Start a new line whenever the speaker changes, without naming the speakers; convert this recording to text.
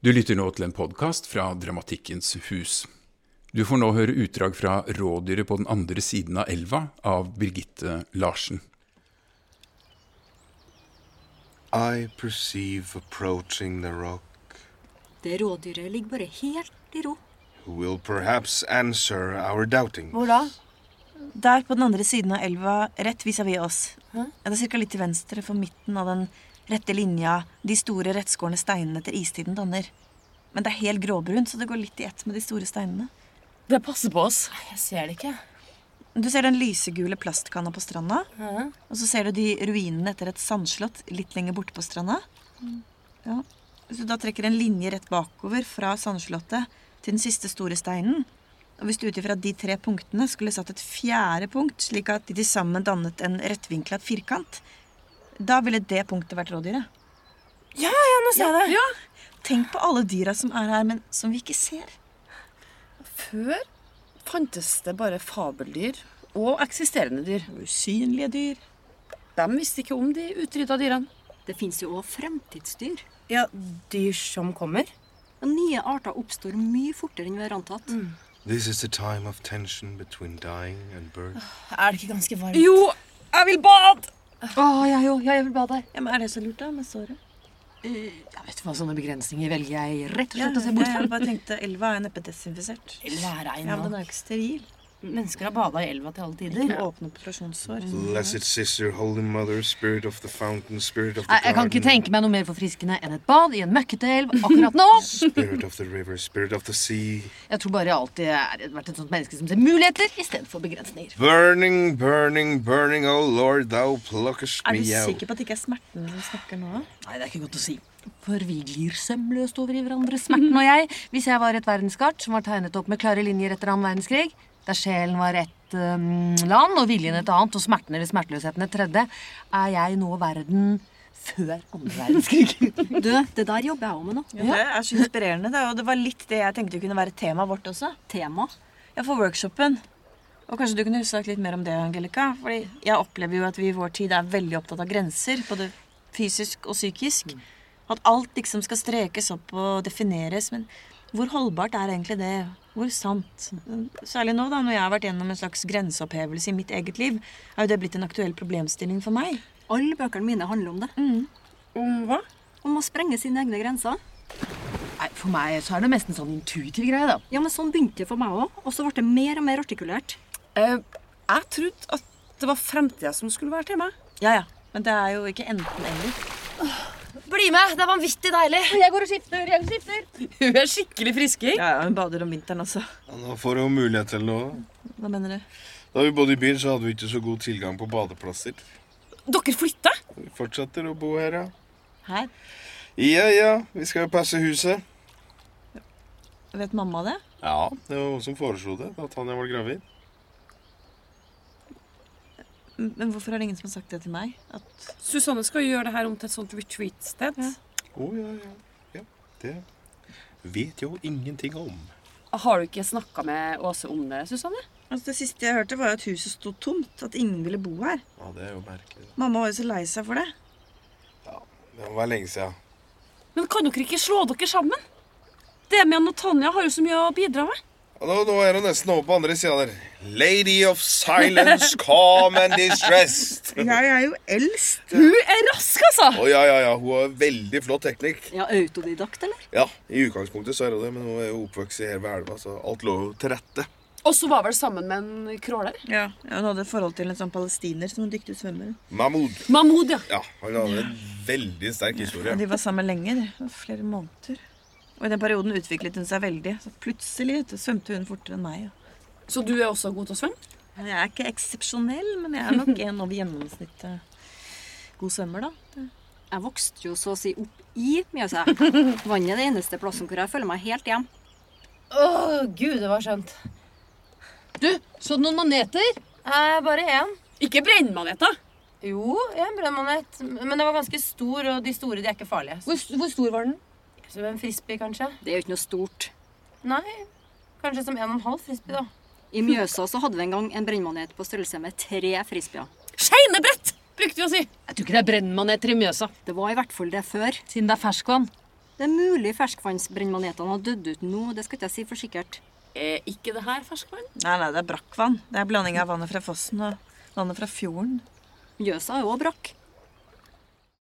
Du lytter nå til en podkast fra Dramatikkens hus. Du får nå høre utdrag fra 'Rådyret på den andre siden av elva' av Birgitte Larsen.
I perceive approaching the rock,
Det rådyret ligger bare helt i ro.
who will perhaps answer our doubting.
Hvor da?
Der på den andre siden av elva, rett vis-à-vis oss. Ja, det er ca. litt til venstre for midten av den rette linja de store rettskårne steinene etter istiden danner. Men det er helt gråbrunt, så det går litt i ett med de store steinene.
Det passer på oss. Jeg ser det ikke.
Du ser den lysegule plastkanna på stranda. Og så ser du de ruinene etter et sandslott litt lenger borte på stranda.
Mm.
Ja. Hvis du da trekker en linje rett bakover fra sandslottet til den siste store steinen Og hvis du ut ifra de tre punktene skulle satt et fjerde punkt, slik at de til sammen dannet en rettvinklet firkant, da ville det punktet vært rådyret.
Ja, ja, nå ser jeg det.
Tenk på alle dyra som er her, men som vi ikke ser.
Før fantes det bare fabeldyr og eksisterende dyr.
Usynlige dyr.
De visste ikke om de utrydda dyrene.
Det fins jo òg fremtidsdyr.
Ja, dyr som kommer.
Og nye arter oppstår mye fortere enn vi har antatt.
Mm.
This is the time of tension between dying and birth.
Er det ikke ganske varmt?
Jo, jeg vil bade!
Ja, men Er det så lurt, da? Med såret?
Jeg vet hva sånne begrensninger velger jeg rett og
Ja,
slett å se
jeg,
bort fra.
bare tenkte, Elva er neppe desinfisert.
Lær deg
Ja, men den
nå.
er jo ikke steril.
Mennesker har bada i elva til alle tider.
Ikke Mm. åpne operasjonssår.
Blessed sister, holy mother, spirit of the fountain, spirit of the
Nei, Jeg kan
garden,
ikke tenke meg noe mer forfriskende enn et bad i en møkkete elv akkurat nå.
spirit of the river, spirit of the sea.
Jeg tror bare jeg alltid har vært et sånt menneske som ser muligheter istedenfor begrensninger.
Burning, burning, burning, O Lord, thou pluckest
Er du
me out.
sikker på at det ikke er smertene som snakker nå?
Nei, det er ikke godt å si. For vi glir sømløst over i hverandres smerten og jeg. Hvis jeg var et verdenskart som var tegnet opp med klare linjer etter annen verdenskrig, der sjelen var ett øhm, land og viljen et annet og smerten eller smerteløsheten et tredje, er jeg nå verden før andre verdenskrig.
Du, det der jobber jeg òg med nå.
Ja. Det er så inspirerende, det. Og det var litt det jeg tenkte kunne være temaet vårt også.
Tema.
Ja, for workshopen. Og kanskje du kunne sagt litt mer om det, Angelica? Fordi jeg opplever jo at vi i vår tid er veldig opptatt av grenser, både fysisk og psykisk. At alt liksom skal strekes opp og defineres. Men hvor holdbart er egentlig det? Hvor sant? Særlig nå, da, når jeg har vært gjennom en slags grenseopphevelse i mitt eget liv, er jo det blitt en aktuell problemstilling for meg.
Alle bøkene mine handler om det.
Mm.
Om hva?
Om å sprenge sine egne grenser.
Nei, for meg så er det mest en sånn intuitiv greie, da.
Ja, men Sånn begynte det for meg òg. Og så ble det mer og mer artikulert.
jeg trodde at det var fremtida som skulle være tema.
Ja, ja. Men det er jo ikke enten-eller.
Bli med! Det er vanvittig deilig.
Jeg går og skifter, jeg skifter.
Hun er skikkelig frisking.
Ja, ja, hun bader om vinteren også.
Ja, Nå får hun mulighet til noe.
Hva mener du?
Da vi bodde i byen, så hadde vi ikke så god tilgang på badeplasser.
Dere flytta?
Vi fortsetter å bo her, ja.
Her?
Ja, ja, vi skal jo passe huset.
Vet mamma det?
Ja, det var hun som foreslo det, da Tanja var gravid.
M- Men hvorfor er det ingen som har sagt det til meg? At
Susanne skal jo gjøre det her om til et sånt retreat-sted.
Å, ja, ja. ja. Det vet jeg jo ingenting om.
Har du ikke snakka med Åse om det, Susanne?
Altså, det siste jeg hørte, var jo at huset sto tomt. At ingen ville bo her.
Ja, det er jo merkelig.
Mamma var jo så lei seg for det.
Det var lenge siden.
Men kan dere ikke slå dere sammen? Demian og Tanja har jo så mye å bidra med.
Ja, nå, nå er hun nesten over på andre sida der. Lady of silence, calm and distressed. Å,
Jeg er jo eldst.
Hun er rask, altså!
ja, ja, ja. Hun har veldig flott teknikk.
Ja, Autodidakt, eller?
Ja, i utgangspunktet så er hun det, men hun er jo oppvokst i Herve elva, så alt lå jo til rette.
Og så var vel sammen med en crawler.
Ja. Hun hadde et forhold til en sånn palestiner som en dyktig svømmer.
Mahmoud.
Mahmoud, ja.
Ja, han hadde en veldig sterk historie.
De var sammen lenge. de. Det var Flere måneder. Og I den perioden utviklet hun seg veldig. Så plutselig vet du, svømte hun fortere enn meg. og-
Så du er også god til å svømme?
Jeg er ikke eksepsjonell, men jeg er nok en over gjennomsnittet god svømmer, da.
Jeg vokste jo så å si opp i Mjøsa. Vannet er det eneste plassen hvor jeg føler meg helt hjemme.
Å, gud, det var skjønt.
Du, så du noen maneter?
Eh, bare én.
Ikke brennmaneter.
Jo, en brødmanet. Men den var ganske stor, og de store de er ikke farlige.
Hvor, hvor stor var den?
Som en frisbee, kanskje?
Det er jo ikke noe stort.
Nei, kanskje som en og en halv frisbee, da.
I Mjøsa så hadde vi en gang en brennmanet på størrelse med tre frisbeer.
Skeinebrett, brukte vi å si.
Jeg tror ikke det er brennmaneter i Mjøsa,
Det var i hvert fall det før.
siden det er ferskvann.
Det er mulig ferskvannsbrennmanetene har dødd ut nå, det skal ikke jeg si for sikkert.
Er ikke det her ferskvann?
Nei, nei, det er brakkvann. Det er blanding av vannet fra fossen og vannet fra fjorden.
Mjøsa er jo også brakk.